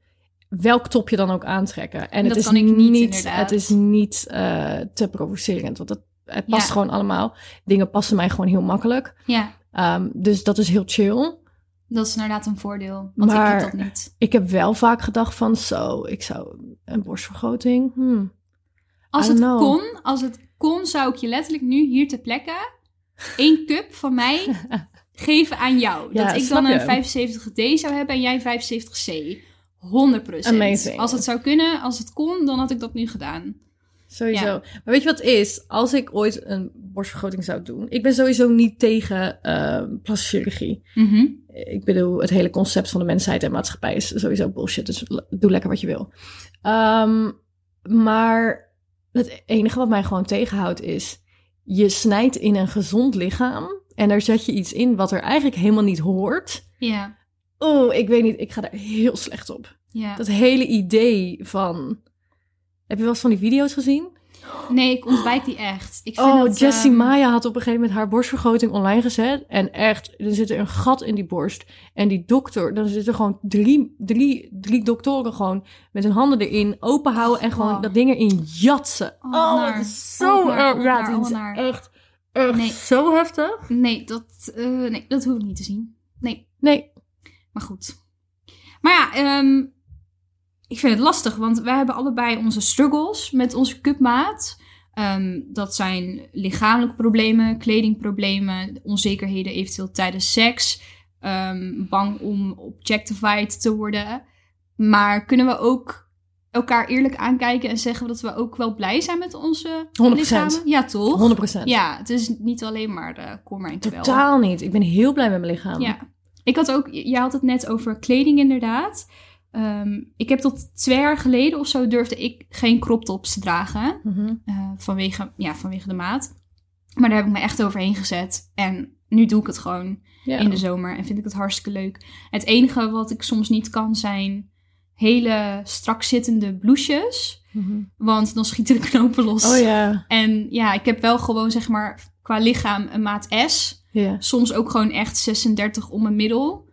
[SPEAKER 1] welk topje dan ook aantrekken. En
[SPEAKER 2] Dat
[SPEAKER 1] het is
[SPEAKER 2] kan ik niet,
[SPEAKER 1] niet
[SPEAKER 2] inderdaad.
[SPEAKER 1] het is niet eh, te provocerend. Want dat Het past
[SPEAKER 2] Ja.
[SPEAKER 1] gewoon allemaal. Dingen passen mij gewoon heel makkelijk.
[SPEAKER 2] Ja,
[SPEAKER 1] Ehm, dus dat is heel chill.
[SPEAKER 2] dat is inderdaad een voordeel. Want ik
[SPEAKER 1] Maar-
[SPEAKER 2] heb dat niet.
[SPEAKER 1] Ik heb wel vaak gedacht van zo, ik zou een borstvergroting. hmm.
[SPEAKER 2] Als
[SPEAKER 1] I
[SPEAKER 2] het
[SPEAKER 1] don't know.
[SPEAKER 2] kon, als het kon, zou ik je letterlijk nu hier ter plekke één cup van mij geven aan jou.
[SPEAKER 1] Ja,
[SPEAKER 2] dat ik
[SPEAKER 1] snap
[SPEAKER 2] dan
[SPEAKER 1] je.
[SPEAKER 2] een 75D zou hebben en jij een 75C. 100%.
[SPEAKER 1] Amazing.
[SPEAKER 2] Als het zou kunnen, als het kon, dan had ik dat nu gedaan.
[SPEAKER 1] Sowieso. Maar weet je wat het is? Als ik ooit een borstvergroting zou doen, ik ben sowieso niet tegen eh plastische chirurgie.
[SPEAKER 2] Mhm.
[SPEAKER 1] Ik bedoel, het hele concept van de mensheid en maatschappij is sowieso bullshit. Dus l- doe lekker wat je wil. Ehm, maar het enige wat mij gewoon tegenhoudt is... je snijdt in een gezond lichaam... en daar zet je iets in wat er eigenlijk helemaal niet hoort.
[SPEAKER 2] Ja,
[SPEAKER 1] Oh, ik weet niet, ik ga daar heel slecht op.
[SPEAKER 2] ja.
[SPEAKER 1] Dat hele idee van... Heb je wel eens van die video's gezien?
[SPEAKER 2] Nee, ik ontwijk die echt. Ik vind
[SPEAKER 1] Oh,
[SPEAKER 2] dat,
[SPEAKER 1] Jessie
[SPEAKER 2] ehm,
[SPEAKER 1] Maya had op een gegeven moment haar borstvergroting online gezet. En echt, er zit een gat in die borst. En die dokter, dan zitten gewoon drie, drie, drie doktoren gewoon met hun handen erin open houden. En gewoon
[SPEAKER 2] Oh.
[SPEAKER 1] dat ding erin jatsen.
[SPEAKER 2] Oh,
[SPEAKER 1] Oh,
[SPEAKER 2] wat naar.
[SPEAKER 1] het is
[SPEAKER 2] Oh,
[SPEAKER 1] zo
[SPEAKER 2] wat naar,
[SPEAKER 1] erg.
[SPEAKER 2] oh,
[SPEAKER 1] Ja,
[SPEAKER 2] naar,
[SPEAKER 1] dit
[SPEAKER 2] oh,
[SPEAKER 1] is
[SPEAKER 2] naar.
[SPEAKER 1] echt, echt
[SPEAKER 2] Nee.
[SPEAKER 1] zo heftig.
[SPEAKER 2] Nee dat, eh, nee, dat hoef ik niet te zien. Nee,
[SPEAKER 1] Nee,
[SPEAKER 2] maar goed. Maar ja, ehm, ik vind het lastig, want wij hebben allebei onze struggles met onze cupmaat. Ehm, dat zijn lichamelijke problemen, kledingproblemen, onzekerheden eventueel tijdens seks. ehm, bang om objectified te worden. Maar kunnen we ook elkaar eerlijk aankijken en zeggen dat we ook wel blij zijn met onze
[SPEAKER 1] 100%.
[SPEAKER 2] lichamen? Ja, toch?
[SPEAKER 1] 100 procent.
[SPEAKER 2] Ja, het is niet alleen maar eh kom maar en kwel.
[SPEAKER 1] Totaal niet. Ik ben heel blij met mijn lichaam.
[SPEAKER 2] Ja. Ik had ook, jij had het net over kleding inderdaad. Ehm, ik heb tot twee jaar geleden of zo durfde ik geen crop tops te dragen.
[SPEAKER 1] Mhm.
[SPEAKER 2] eh, vanwege, ja, vanwege de maat. Maar daar heb ik me echt overheen gezet. En nu doe ik het gewoon
[SPEAKER 1] Ja.
[SPEAKER 2] in de zomer. En vind ik het hartstikke leuk. Het enige wat ik soms niet kan zijn hele strak zittende blouses.
[SPEAKER 1] Mhm.
[SPEAKER 2] Want dan schieten de knopen los.
[SPEAKER 1] Oh ja.
[SPEAKER 2] En ja, ik heb wel gewoon zeg maar qua lichaam een maat S.
[SPEAKER 1] Ja.
[SPEAKER 2] Soms ook gewoon echt 36 om mijn middel.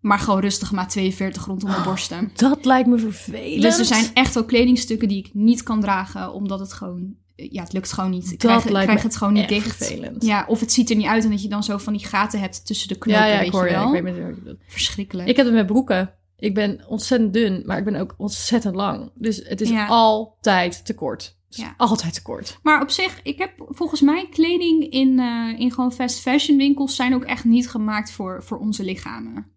[SPEAKER 2] Maar gewoon rustig maat 42 rondom
[SPEAKER 1] Oh,
[SPEAKER 2] mijn borsten.
[SPEAKER 1] Dat lijkt me vervelend.
[SPEAKER 2] Dus er zijn echt wel kledingstukken die ik niet kan dragen. Omdat het gewoon... eh, Ja, het lukt gewoon niet. Ik
[SPEAKER 1] Dat
[SPEAKER 2] krijg, ik
[SPEAKER 1] lijkt
[SPEAKER 2] krijg
[SPEAKER 1] me
[SPEAKER 2] het gewoon niet
[SPEAKER 1] echt
[SPEAKER 2] dicht.
[SPEAKER 1] vervelend.
[SPEAKER 2] Ja, of het ziet er niet uit. En dat je dan zo van die gaten hebt tussen de knopen.
[SPEAKER 1] ja, ja,
[SPEAKER 2] weet
[SPEAKER 1] ik hoor
[SPEAKER 2] je
[SPEAKER 1] je.
[SPEAKER 2] wel.
[SPEAKER 1] Ik weet meteen wat je bedoelt.
[SPEAKER 2] Verschrikkelijk.
[SPEAKER 1] Ik heb het met broeken. Ik ben ontzettend dun, maar ik ben ook ontzettend lang. Dus het is
[SPEAKER 2] Ja.
[SPEAKER 1] altijd te kort. Het is
[SPEAKER 2] Ja.
[SPEAKER 1] Altijd te kort.
[SPEAKER 2] Maar op zich, ik heb volgens mij kleding in, eh, in gewoon fast fashion winkels zijn ook echt niet gemaakt voor, voor onze lichamen.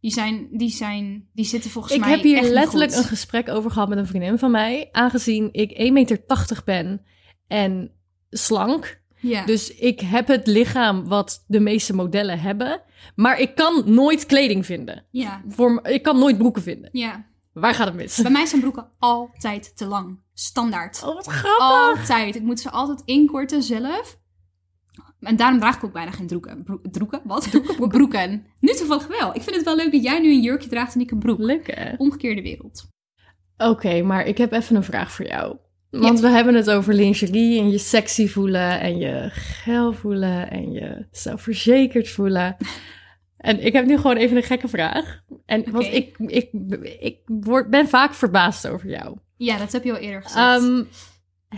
[SPEAKER 2] Die zijn, die zijn, die zitten volgens
[SPEAKER 1] ik
[SPEAKER 2] mij
[SPEAKER 1] heb hier
[SPEAKER 2] echt niet
[SPEAKER 1] letterlijk
[SPEAKER 2] goed.
[SPEAKER 1] een gesprek over gehad met een vriendin van mij. Aangezien ik 1,80 meter ben en slank.
[SPEAKER 2] Ja.
[SPEAKER 1] Dus ik heb het lichaam wat de meeste modellen hebben. Maar ik kan nooit kleding vinden.
[SPEAKER 2] ja,
[SPEAKER 1] Voor, m- ik kan nooit broeken vinden.
[SPEAKER 2] ja.
[SPEAKER 1] Waar gaat het mis?
[SPEAKER 2] Bij mij zijn broeken altijd te lang. Standaard.
[SPEAKER 1] Oh, wat grappig.
[SPEAKER 2] Altijd. Ik moet ze altijd inkorten zelf. En daarom draag ik ook bijna geen droeken. Broek, droeken? Wat? Broeken. Nu toevallig wel. Ik vind het wel leuk dat jij nu een jurkje draagt en ik een broek.
[SPEAKER 1] Leuk hè?
[SPEAKER 2] Omgekeerde wereld.
[SPEAKER 1] Oké, maar ik heb even een vraag voor jou. Want we hebben het over lingerie en je sexy voelen en je geil voelen en je zelfverzekerd voelen. En ik heb nu gewoon even een gekke vraag. En want
[SPEAKER 2] Oké.
[SPEAKER 1] ik, ik, ik word, ben vaak verbaasd over jou.
[SPEAKER 2] Ja, dat heb je al eerder gezegd.
[SPEAKER 1] Ehm,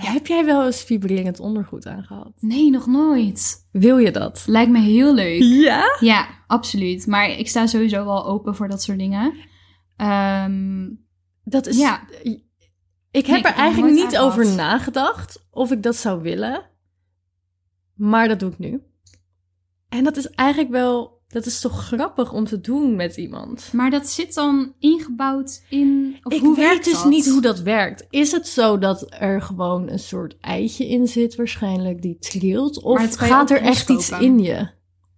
[SPEAKER 1] Heb jij wel eens vibrerend ondergoed aangehad?
[SPEAKER 2] nee, nog nooit.
[SPEAKER 1] Wil je dat?
[SPEAKER 2] Lijkt me heel leuk.
[SPEAKER 1] Ja?
[SPEAKER 2] Ja, absoluut. Maar ik sta sowieso wel open voor dat soort dingen. Ehm,
[SPEAKER 1] Dat is.
[SPEAKER 2] Ja.
[SPEAKER 1] Ik
[SPEAKER 2] Nee,
[SPEAKER 1] heb
[SPEAKER 2] ik
[SPEAKER 1] er
[SPEAKER 2] heb
[SPEAKER 1] eigenlijk
[SPEAKER 2] nooit
[SPEAKER 1] niet
[SPEAKER 2] aangehad.
[SPEAKER 1] over nagedacht of ik dat zou willen. Maar dat doe ik nu. En dat is eigenlijk wel. Dat is toch grappig om te doen met iemand.
[SPEAKER 2] maar dat zit dan ingebouwd in. Of
[SPEAKER 1] ik
[SPEAKER 2] hoe
[SPEAKER 1] weet
[SPEAKER 2] werkt
[SPEAKER 1] dus
[SPEAKER 2] dat?
[SPEAKER 1] niet hoe dat werkt. Is het zo dat er gewoon een soort eitje in zit, waarschijnlijk, die trilt?
[SPEAKER 2] Maar
[SPEAKER 1] Of
[SPEAKER 2] dat kan je
[SPEAKER 1] gaat
[SPEAKER 2] ook
[SPEAKER 1] er echt iets
[SPEAKER 2] loskopen.
[SPEAKER 1] in je?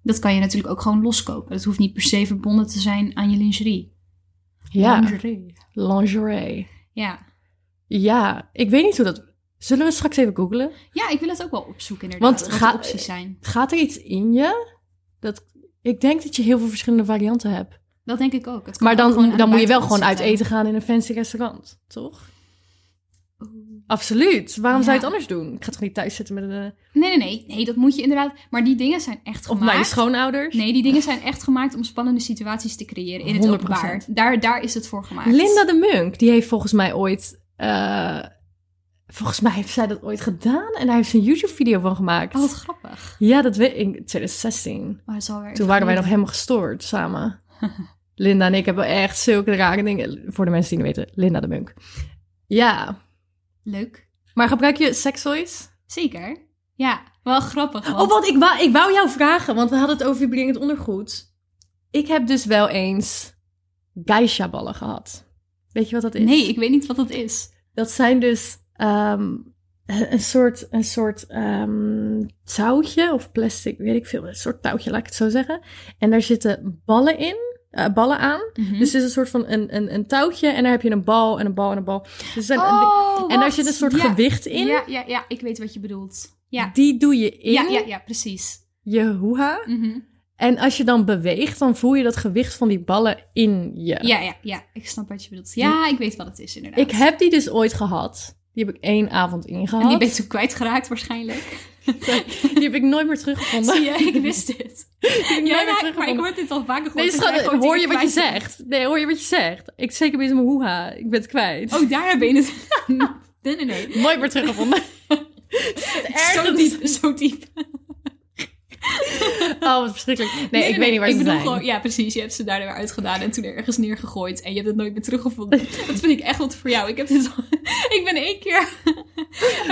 [SPEAKER 2] Dat kan je natuurlijk ook gewoon loskopen. Dat hoeft niet per se verbonden te zijn aan je lingerie.
[SPEAKER 1] Ja,
[SPEAKER 2] Lingerie.
[SPEAKER 1] lingerie.
[SPEAKER 2] Ja.
[SPEAKER 1] Ja, ik weet niet hoe dat. Zullen we straks even googlen?
[SPEAKER 2] ja, ik wil het ook wel opzoeken inderdaad.
[SPEAKER 1] Want
[SPEAKER 2] Want wat de
[SPEAKER 1] ga-
[SPEAKER 2] opties zijn.
[SPEAKER 1] Gaat er iets in je? Dat, ik denk dat je heel veel verschillende varianten hebt.
[SPEAKER 2] Dat denk ik ook. Het kan
[SPEAKER 1] Maar
[SPEAKER 2] ook
[SPEAKER 1] dan,
[SPEAKER 2] gewoon aan
[SPEAKER 1] dan
[SPEAKER 2] de
[SPEAKER 1] moet je wel
[SPEAKER 2] buitenkant
[SPEAKER 1] gewoon uit
[SPEAKER 2] zitten.
[SPEAKER 1] eten gaan in een fancy restaurant, toch? Absoluut. Waarom zou je het
[SPEAKER 2] Ja.
[SPEAKER 1] anders doen? Ik ga toch niet thuis zitten met eh, een...
[SPEAKER 2] Nee, nee, nee. Nee, dat moet je inderdaad. Maar die dingen zijn echt
[SPEAKER 1] Of
[SPEAKER 2] gemaakt.
[SPEAKER 1] naar je schoonouders?
[SPEAKER 2] Nee, die dingen zijn echt gemaakt om spannende situaties te creëren in het
[SPEAKER 1] 100%.
[SPEAKER 2] openbaar. Daar, daar is het voor gemaakt.
[SPEAKER 1] Linda de Munk, die heeft volgens mij ooit eh, Volgens mij heeft zij dat ooit gedaan en daar heeft ze een YouTube-video van gemaakt.
[SPEAKER 2] Oh, wat grappig.
[SPEAKER 1] Ja, dat weet ik. 2016.
[SPEAKER 2] Maar dat is alweer
[SPEAKER 1] Toen waren wij nog helemaal gestoord samen. Linda en ik hebben echt zulke rare dingen. Voor de mensen die het niet weten, Linda de Munk. Ja,
[SPEAKER 2] Leuk.
[SPEAKER 1] maar gebruik je sekstoys?
[SPEAKER 2] Zeker. Ja, wel grappig.
[SPEAKER 1] Oh, want ik wou, ik wou jou vragen, want we hadden het over je bedingend ondergoed. Ik heb dus wel eens geisha-ballen gehad. Weet je wat dat is?
[SPEAKER 2] Nee, ik weet niet wat dat is.
[SPEAKER 1] Dat zijn dus ehm, een soort, een soort ehm, touwtje of plastic, weet ik veel. Een soort touwtje, laat ik het zo zeggen. En daar zitten ballen in, eh, ballen aan.
[SPEAKER 2] Dus,
[SPEAKER 1] Dus het is een soort van een, een, een touwtje en daar heb je een bal en een bal en een bal. Dus er zijn een-
[SPEAKER 2] oh,
[SPEAKER 1] en daar
[SPEAKER 2] wacht.
[SPEAKER 1] zit een soort
[SPEAKER 2] Ja.
[SPEAKER 1] gewicht in.
[SPEAKER 2] Ja, ja, ja, ik weet wat je bedoelt. Ja,
[SPEAKER 1] Die doe je in
[SPEAKER 2] ja, ja, ja precies.
[SPEAKER 1] je hoeha.
[SPEAKER 2] Mhm.
[SPEAKER 1] En als je dan beweegt, dan voel je dat gewicht van die ballen in je.
[SPEAKER 2] Ja, ja, ja, ik snap wat je bedoelt. Ja, ik weet wat het is inderdaad.
[SPEAKER 1] Ik heb die dus ooit gehad. Die heb ik één avond ingehad.
[SPEAKER 2] En die ben je toen kwijtgeraakt waarschijnlijk.
[SPEAKER 1] Die heb ik nooit meer teruggevonden.
[SPEAKER 2] Zie je, ik wist dit.
[SPEAKER 1] Die heb ik
[SPEAKER 2] Ja,
[SPEAKER 1] nooit meer
[SPEAKER 2] maar, maar ik
[SPEAKER 1] teruggevonden.
[SPEAKER 2] hoor dit al vaker gehoord.
[SPEAKER 1] Nee,
[SPEAKER 2] dat jij
[SPEAKER 1] schat,
[SPEAKER 2] gewoon
[SPEAKER 1] hoor je
[SPEAKER 2] dingen
[SPEAKER 1] wat je
[SPEAKER 2] kwijt-
[SPEAKER 1] zegt? Nee, hoor je wat je zegt? Ik zeker bezig mijn hoeha. Ik ben het kwijt.
[SPEAKER 2] Oh, daarna ben je het... Nee, nee, nee.
[SPEAKER 1] Nooit meer teruggevonden.
[SPEAKER 2] Zo
[SPEAKER 1] Ergens.
[SPEAKER 2] diep, zo diep.
[SPEAKER 1] Oh, wat verschrikkelijk. Nee, ik weet niet waar
[SPEAKER 2] ik
[SPEAKER 1] ze
[SPEAKER 2] bedoel
[SPEAKER 1] zijn.
[SPEAKER 2] Gewoon, ja, precies. Je hebt ze daar weer uitgedaan en toen ergens neergegooid. En je hebt het nooit meer teruggevonden. Dat vind ik echt wat voor jou. Ik, heb dit al- ik ben één keer...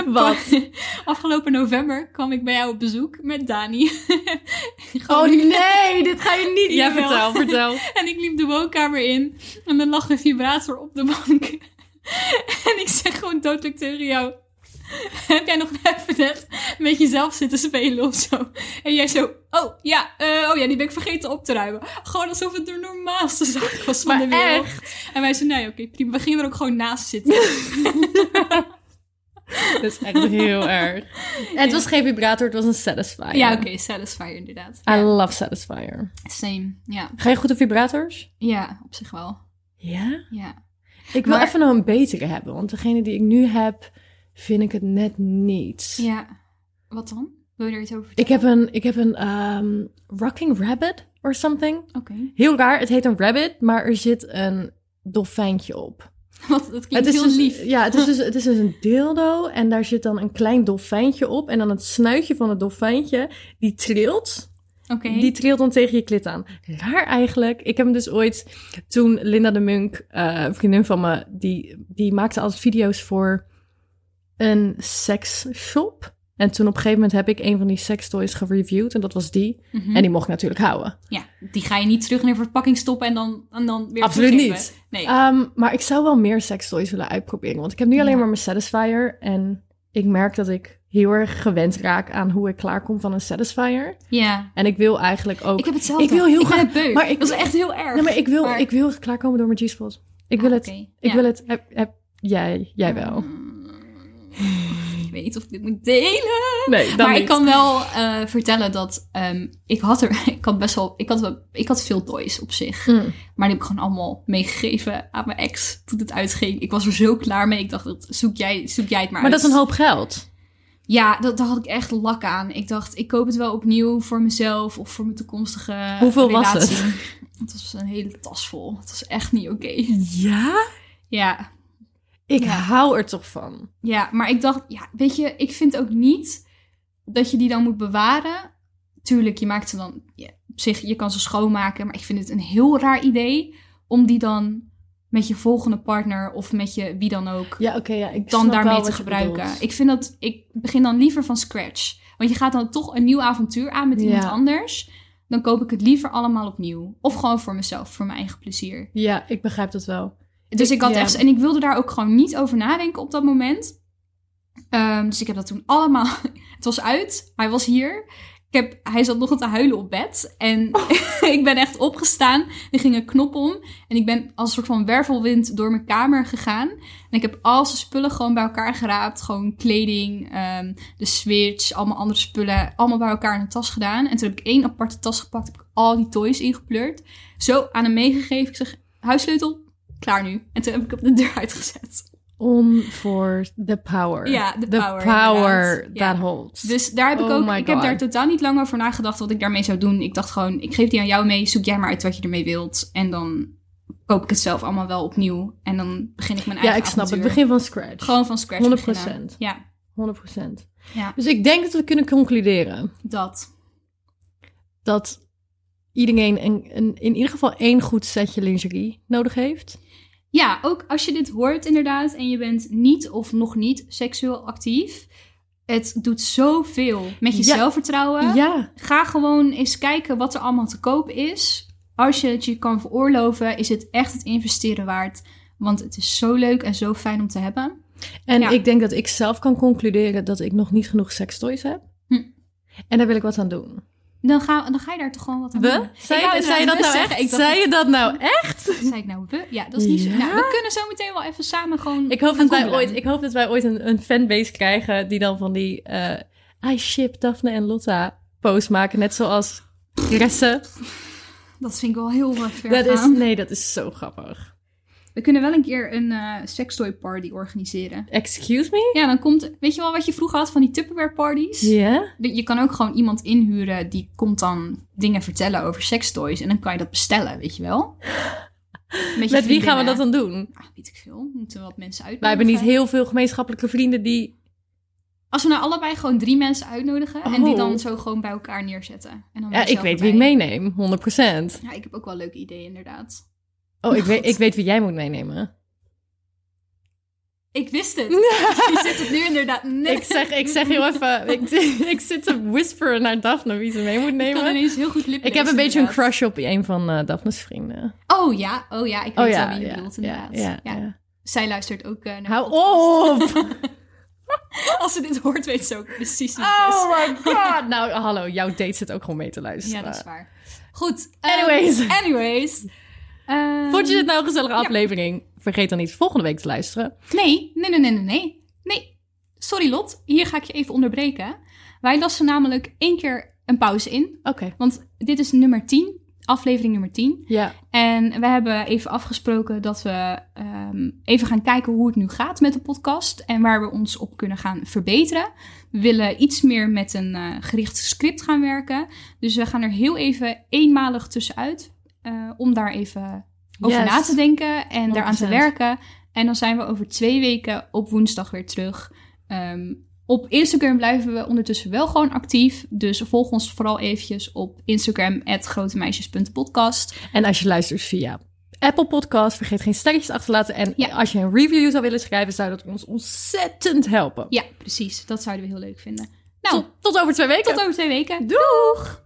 [SPEAKER 1] Wat?
[SPEAKER 2] Afgelopen november kwam ik bij jou op bezoek met Dani.
[SPEAKER 1] Oh
[SPEAKER 2] Gewoon-
[SPEAKER 1] nee, dit ga je niet
[SPEAKER 2] Ja,
[SPEAKER 1] Ja, vertel, vertel.
[SPEAKER 2] En ik liep de woonkamer in en er lag een vibrator op de bank. en ik zeg gewoon doodelijk tegen jou... Heb jij nog even net met jezelf zitten spelen of zo? En jij zo, oh ja, eh, oh ja, die ben ik vergeten op te ruimen. Gewoon alsof het de normaalste zaak was van
[SPEAKER 1] Maar
[SPEAKER 2] de wereld.
[SPEAKER 1] echt.
[SPEAKER 2] En wij zeiden, nee, oké, prima. We gingen er ook gewoon naast zitten.
[SPEAKER 1] Dat is echt heel erg. En het was geen vibrator, het was een satisfier.
[SPEAKER 2] ja, oké, Satisfyer inderdaad.
[SPEAKER 1] I
[SPEAKER 2] Ja,
[SPEAKER 1] love satisfier.
[SPEAKER 2] same, ja.
[SPEAKER 1] Ga je goed op vibrators?
[SPEAKER 2] Ja, op zich wel.
[SPEAKER 1] Ja.
[SPEAKER 2] Ja.
[SPEAKER 1] Ik wil
[SPEAKER 2] Maar-
[SPEAKER 1] even nog een betere hebben, want degene die ik nu heb, vind ik het net niet.
[SPEAKER 2] Ja. Wat dan? Wil je er iets over
[SPEAKER 1] Ik heb
[SPEAKER 2] vertellen?
[SPEAKER 1] een, ik heb een ehm, rocking rabbit or something.
[SPEAKER 2] Oké.
[SPEAKER 1] Heel raar, het heet een rabbit, maar er zit een dolfijntje op.
[SPEAKER 2] Want dat klinkt
[SPEAKER 1] het is
[SPEAKER 2] heel
[SPEAKER 1] dus,
[SPEAKER 2] lief.
[SPEAKER 1] Ja, het is, dus, het is dus een dildo en daar zit dan een klein dolfijntje op. En dan het snuitje van het dolfijntje, die trilt.
[SPEAKER 2] Oké.
[SPEAKER 1] Die trilt dan tegen je klit aan. Raar eigenlijk. Ik heb hem dus ooit, toen Linda de Munk, eh, een vriendin van me, die, die maakte altijd video's voor een seksshop. En toen op een gegeven moment heb ik een van die sextoys gereviewd en dat was die.
[SPEAKER 2] Mhm.
[SPEAKER 1] En die mocht ik natuurlijk houden.
[SPEAKER 2] Ja, die ga je niet terug in een verpakking stoppen en dan, en dan weer
[SPEAKER 1] Absoluut
[SPEAKER 2] teruggeven.
[SPEAKER 1] niet.
[SPEAKER 2] Nee.
[SPEAKER 1] Ehm, maar ik zou wel meer sextoys willen uitproberen. Want ik heb nu alleen
[SPEAKER 2] Ja.
[SPEAKER 1] maar mijn Satisfier. En ik merk dat ik heel erg gewend raak aan hoe ik klaarkom van een Satisfier.
[SPEAKER 2] ja.
[SPEAKER 1] En ik wil eigenlijk ook...
[SPEAKER 2] Ik heb hetzelfde.
[SPEAKER 1] Ik wil heel graag-
[SPEAKER 2] ben het beu.
[SPEAKER 1] maar ik-
[SPEAKER 2] dat is echt heel erg.
[SPEAKER 1] Nee, maar ik wil,
[SPEAKER 2] maar-
[SPEAKER 1] ik wil klaarkomen door mijn G-spot. Ik wil
[SPEAKER 2] Ah,
[SPEAKER 1] het.
[SPEAKER 2] oké.
[SPEAKER 1] Ik
[SPEAKER 2] Ja.
[SPEAKER 1] wil het. Heb, heb, jij, jij wel.
[SPEAKER 2] Mm, Ik weet niet of ik dit moet delen.
[SPEAKER 1] Nee, dan
[SPEAKER 2] maar
[SPEAKER 1] niet.
[SPEAKER 2] ik kan wel eh, vertellen dat ehm, ik had er, ik had best wel, ik had, wel- ik had veel toys op zich.
[SPEAKER 1] Mm.
[SPEAKER 2] Maar die heb ik gewoon allemaal meegegeven aan mijn ex toen het uitging. Ik was er zo klaar mee. Ik dacht, dat zoek jij, zoek jij het maar
[SPEAKER 1] Maar
[SPEAKER 2] uit.
[SPEAKER 1] dat is een hoop geld.
[SPEAKER 2] Ja, dat, daar had ik echt lak aan. Ik dacht, ik koop het wel opnieuw voor mezelf of voor mijn toekomstige
[SPEAKER 1] Hoeveel was
[SPEAKER 2] relatie.
[SPEAKER 1] het?
[SPEAKER 2] Het was een hele tas vol. Het was echt niet oké.
[SPEAKER 1] Ja?
[SPEAKER 2] Ja,
[SPEAKER 1] Ik
[SPEAKER 2] Ja.
[SPEAKER 1] hou er toch van.
[SPEAKER 2] ja, maar ik dacht, ja, weet je, ik vind ook niet dat je die dan moet bewaren. Tuurlijk, je maakt ze dan ja, op zich, je kan ze schoonmaken, maar ik vind het een heel raar idee om die dan met je volgende partner of met je wie dan ook
[SPEAKER 1] Ja, oké. ja, ik
[SPEAKER 2] dan
[SPEAKER 1] snap wel
[SPEAKER 2] daarmee
[SPEAKER 1] wat
[SPEAKER 2] te
[SPEAKER 1] je
[SPEAKER 2] gebruiken.
[SPEAKER 1] bedoelt.
[SPEAKER 2] Ik vind dat ik begin dan liever van scratch. Want je gaat dan toch een nieuw avontuur aan met iemand
[SPEAKER 1] Ja.
[SPEAKER 2] anders. Dan koop ik het liever allemaal opnieuw. Of gewoon voor mezelf, voor mijn eigen plezier.
[SPEAKER 1] Ja, ik begrijp dat wel.
[SPEAKER 2] Dus ik had
[SPEAKER 1] ja.
[SPEAKER 2] echt. En ik wilde daar ook gewoon niet over nadenken op dat moment. Ehm, dus ik heb dat toen allemaal. Het was uit. Hij was hier. Ik heb, hij zat nog te huilen op bed. En ik ben echt opgestaan. Er ging een knop om. En ik ben als een soort van wervelwind door mijn kamer gegaan. En ik heb al zijn spullen gewoon bij elkaar geraapt. Gewoon kleding, ehm, de switch, allemaal andere spullen. Allemaal bij elkaar in een tas gedaan. En toen heb ik één aparte tas gepakt. Heb ik al die toys ingepleurd. Zo aan hem meegegeven. Ik zeg, huissleutel, klaar nu. En toen heb ik hem de deur uitgezet.
[SPEAKER 1] On for the power.
[SPEAKER 2] Ja, the
[SPEAKER 1] the
[SPEAKER 2] power,
[SPEAKER 1] power that
[SPEAKER 2] inderdaad. Ja.
[SPEAKER 1] holds.
[SPEAKER 2] Dus daar heb ik
[SPEAKER 1] Oh
[SPEAKER 2] ook,
[SPEAKER 1] my
[SPEAKER 2] ik heb
[SPEAKER 1] God.
[SPEAKER 2] daar totaal niet lang over nagedacht wat ik daarmee zou doen. Ik dacht gewoon, ik geef die aan jou mee, zoek jij maar uit wat je ermee wilt. En dan koop ik het zelf allemaal wel opnieuw. En dan begin ik mijn
[SPEAKER 1] Ja,
[SPEAKER 2] eigen
[SPEAKER 1] ik snap het.
[SPEAKER 2] avontuur.
[SPEAKER 1] Begin van scratch.
[SPEAKER 2] Gewoon van scratch
[SPEAKER 1] 100%.
[SPEAKER 2] beginnen. Ja,
[SPEAKER 1] 100%.
[SPEAKER 2] Ja.
[SPEAKER 1] Dus ik denk dat we kunnen concluderen
[SPEAKER 2] dat.
[SPEAKER 1] dat iedereen een, een- in ieder geval één goed setje lingerie nodig heeft.
[SPEAKER 2] Ja, ook als je dit hoort inderdaad en je bent niet of nog niet seksueel actief. Het doet zoveel met je
[SPEAKER 1] Ja.
[SPEAKER 2] zelfvertrouwen.
[SPEAKER 1] Ja,
[SPEAKER 2] Ga gewoon eens kijken wat er allemaal te koop is. Als je het je kan veroorloven, is het echt het investeren waard. Want het is zo leuk en zo fijn om te hebben.
[SPEAKER 1] en
[SPEAKER 2] Ja.
[SPEAKER 1] ik denk dat ik zelf kan concluderen dat ik nog niet genoeg sextoys heb.
[SPEAKER 2] Hm.
[SPEAKER 1] En daar wil ik wat aan doen.
[SPEAKER 2] Dan ga, dan ga je daar toch gewoon wat aan doen.
[SPEAKER 1] We?
[SPEAKER 2] Ik
[SPEAKER 1] Zei,
[SPEAKER 2] wou
[SPEAKER 1] je- zei je dat
[SPEAKER 2] inderdaad
[SPEAKER 1] nou echt?
[SPEAKER 2] we zeggen. Ik dacht,
[SPEAKER 1] zei je dat nou echt?
[SPEAKER 2] zei ik nou we? Ja, dat is niet zo.
[SPEAKER 1] Ja?
[SPEAKER 2] Nou, we kunnen zo meteen wel even samen gewoon...
[SPEAKER 1] Ik hoop,
[SPEAKER 2] gaan
[SPEAKER 1] dat wij
[SPEAKER 2] googlen.
[SPEAKER 1] ooit, ik hoop dat wij ooit een, een fanbase krijgen die dan van die eh, I ship Daphne en Lotta post maken. Net zoals Resse.
[SPEAKER 2] Dat vind ik wel heel eh, ver
[SPEAKER 1] Dat is,
[SPEAKER 2] gaan.
[SPEAKER 1] nee, dat is zo grappig.
[SPEAKER 2] We kunnen wel een keer een eh sextoy party organiseren.
[SPEAKER 1] Excuse me?
[SPEAKER 2] Ja, dan komt... Weet je wel wat je vroeger had van die Tupperware parties?
[SPEAKER 1] Ja?
[SPEAKER 2] Je je kan ook gewoon iemand inhuren die komt dan dingen vertellen over sextoys. En dan kan je dat bestellen, weet je wel? je
[SPEAKER 1] Met wie gaan we
[SPEAKER 2] vriendinnen.
[SPEAKER 1] dat dan doen?
[SPEAKER 2] Ah, weet ik veel. We Moeten wat mensen uitnodigen.
[SPEAKER 1] Wij hebben niet heel veel gemeenschappelijke vrienden die...
[SPEAKER 2] Als we nou allebei gewoon drie mensen uitnodigen. En die
[SPEAKER 1] Oh.
[SPEAKER 2] dan zo gewoon bij elkaar neerzetten. En dan
[SPEAKER 1] Ja, ik
[SPEAKER 2] mezelf
[SPEAKER 1] weet wie ik
[SPEAKER 2] erbij.
[SPEAKER 1] meeneem, 100%.
[SPEAKER 2] Ja, ik heb ook wel leuke ideeën inderdaad.
[SPEAKER 1] Oh, ik weet,
[SPEAKER 2] God.
[SPEAKER 1] ik weet wie jij moet meenemen.
[SPEAKER 2] Ik wist het. Je zit het nu inderdaad net.
[SPEAKER 1] Ik zeg, ik zeg heel even... Ik, ik zit te whisperen naar Daphne wie ze mee moet
[SPEAKER 2] Ik kan
[SPEAKER 1] nemen.
[SPEAKER 2] ineens heel goed lippen.
[SPEAKER 1] Ik heb een beetje een crush op een van eh, Daphne's vrienden.
[SPEAKER 2] Oh ja, oh ja, ik weet wel wie je bedoelt inderdaad.
[SPEAKER 1] ja, ja.
[SPEAKER 2] Zij luistert ook eh, naar...
[SPEAKER 1] Hou op!
[SPEAKER 2] Als ze dit hoort, weet ze ook precies wie het is.
[SPEAKER 1] Oh my god! Nou, hallo, jouw date zit ook gewoon mee te luisteren.
[SPEAKER 2] Ja, dat is waar. Goed. ehm,
[SPEAKER 1] Anyways.
[SPEAKER 2] anyways. Ehm,
[SPEAKER 1] Vond je dit nou een gezellige
[SPEAKER 2] Ja.
[SPEAKER 1] aflevering? Vergeet dan niet volgende week te luisteren.
[SPEAKER 2] Nee, nee, nee, nee, nee, nee. Nee. Sorry Lot, hier ga ik je even onderbreken. Wij lassen namelijk één keer een pauze in.
[SPEAKER 1] Oké.
[SPEAKER 2] Want dit is nummer 10, aflevering nummer 10.
[SPEAKER 1] Ja.
[SPEAKER 2] En we hebben even afgesproken dat we ehm, even gaan kijken hoe het nu gaat met de podcast. En waar we ons op kunnen gaan verbeteren. We willen iets meer met een eh, gericht script gaan werken. Dus we gaan er heel even eenmalig tussenuit. eh, om daar even over
[SPEAKER 1] Yes.
[SPEAKER 2] na te denken en daaraan te
[SPEAKER 1] 100%.
[SPEAKER 2] werken. En dan zijn we over twee weken op woensdag weer terug. Ehm, op Instagram blijven we ondertussen wel gewoon actief. Dus volg ons vooral eventjes op Instagram, grotemeisjes.podcast.
[SPEAKER 1] En als je luistert via Apple Podcast, vergeet geen sterretjes achter te laten. En
[SPEAKER 2] Ja.
[SPEAKER 1] als je een review zou willen schrijven, zou dat ons ontzettend helpen.
[SPEAKER 2] Ja, precies. Dat zouden we heel leuk vinden. Nou,
[SPEAKER 1] Tot, tot over twee weken.
[SPEAKER 2] tot over twee weken.
[SPEAKER 1] Doeg!